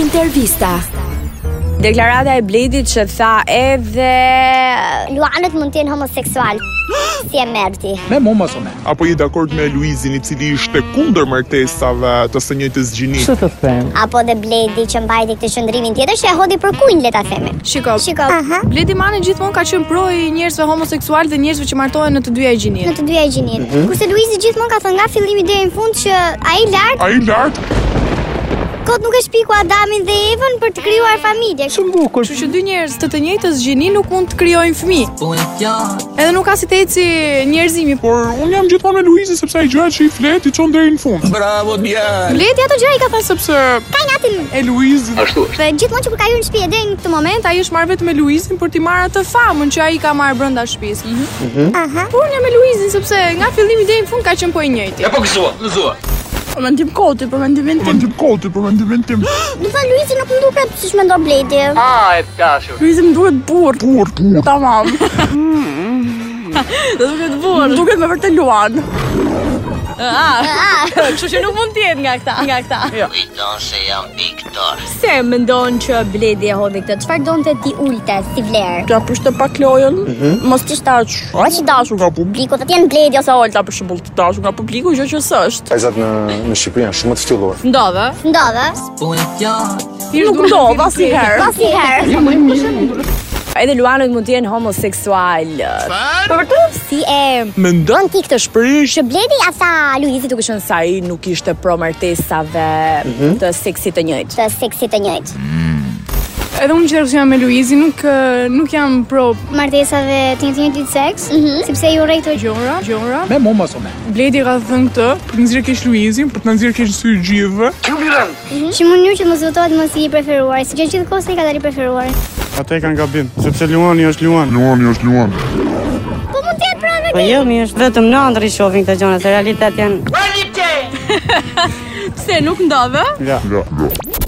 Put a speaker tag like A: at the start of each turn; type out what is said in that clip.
A: Intervista.
B: Deklarata e Bledit që tha edhe
C: Luanët mund t'jenë homoseksual Si e merti
D: Me mu mos me.
E: apo je dakord me Luizin i cili ishte kundër martesave të së njëjtës gjini?
D: të them?
C: Apo dhe bledi që mbajti këtë qëndrimin tjetër Që e hodi për kujnë le ta themi
B: Shiko,
C: Shiko Aha.
B: Bledi Mane gjithmonë ka qenë pro i njerëzve homoseksual dhe njerëzve që martohen në të dyja
C: Në
B: gjinit.
C: të dyja e gjinit
B: Mhm.
C: Kurse Luizi gjithmonë ka thënë nga fillimi deri në fund Që a i lartë
E: A i lartë?
C: Kot nuk e shpiku Adamin dhe Evën Për të kryuar familje Shumë
D: Bukur.
B: Kështu që dy njerëz të të njëjtës gjini nuk mund të krijojnë fëmijë. Edhe nuk ka si të eci njerëzimi.
E: Por unë jam gjithmonë me Luizin sepse ai gjërat që i flet i çon deri në fund.
B: Bledi ato gjëra i ka thënë sepse
C: Ka i natin
E: E Luizin
C: Dhe gjithmonë që kur ka hyrë në shtëpi deri në këtë moment
B: moment ai është marrë vetëm me Luizin për t'i marrë atë famën që ai ka marrë brenda shtëpisë.
F: Mhm.
C: Aha.
B: Por unë jam me Luizin sepse nga fillimi deri në fund ka qenë po i njëjti.
F: Po
E: mendim kote për mendimin tim.
C: Do thënë Luizi nuk më duket siç mendon Bledi
E: Por kur
B: Ah.
F: Kështu që nuk mund të jetë nga këta, nga këta.
B: Se mendon që Bledi e hodhi këtë
C: Çfarë donte ti ulte si vlerë?
F: Ja pushte pak lojën, mos ti shtash.
E: a që dashur nga publik?
C: Bliku të tjenë Bledi
F: Sa olta për shembull të dashur nga publiku, gjë që s'është.
G: Vajzat në në Shqipëri janë shumë të ftylluar.
F: Ndodhe.
C: ndodhe
F: Nuk ndodh asnjëherë.
C: Pas i Po herë
B: Edhe Luanët mund të jenë homoseksual.
C: Si e
B: Mendon ti këtë shprehje
C: Që Bledi a tha Luizi
B: duke qenë sa ai nuk ishte pro martesave
F: Mhm.
B: të seksit të njëjtë.
C: të seksi të njëjtë.
B: Edhe unë që jam me Luizin nuk nuk jam pro
C: Martesave të një të njëjtit seks, sepse ju urrej këto
H: Gjora, gjora.
D: Me mu mos me.
H: Bledi ka thënë këtë për të nxjerrë kesh Luizin, për të nxjerrë kesh sy gjithëve.
C: gjë. Që mënyrë që mos votohet mos i preferuar, siç gjithkohë se i ka dalë i preferuar.
I: Ata i kanë gabim, sepse Luani është Luan.
E: Luani është Luan.
C: Po mund të jetë pra me
J: Po jo, mi është vetëm në andri shohin këta gjona, se realitet janë
B: se nuk ndodhe.
I: Ja.
E: Ja, ja.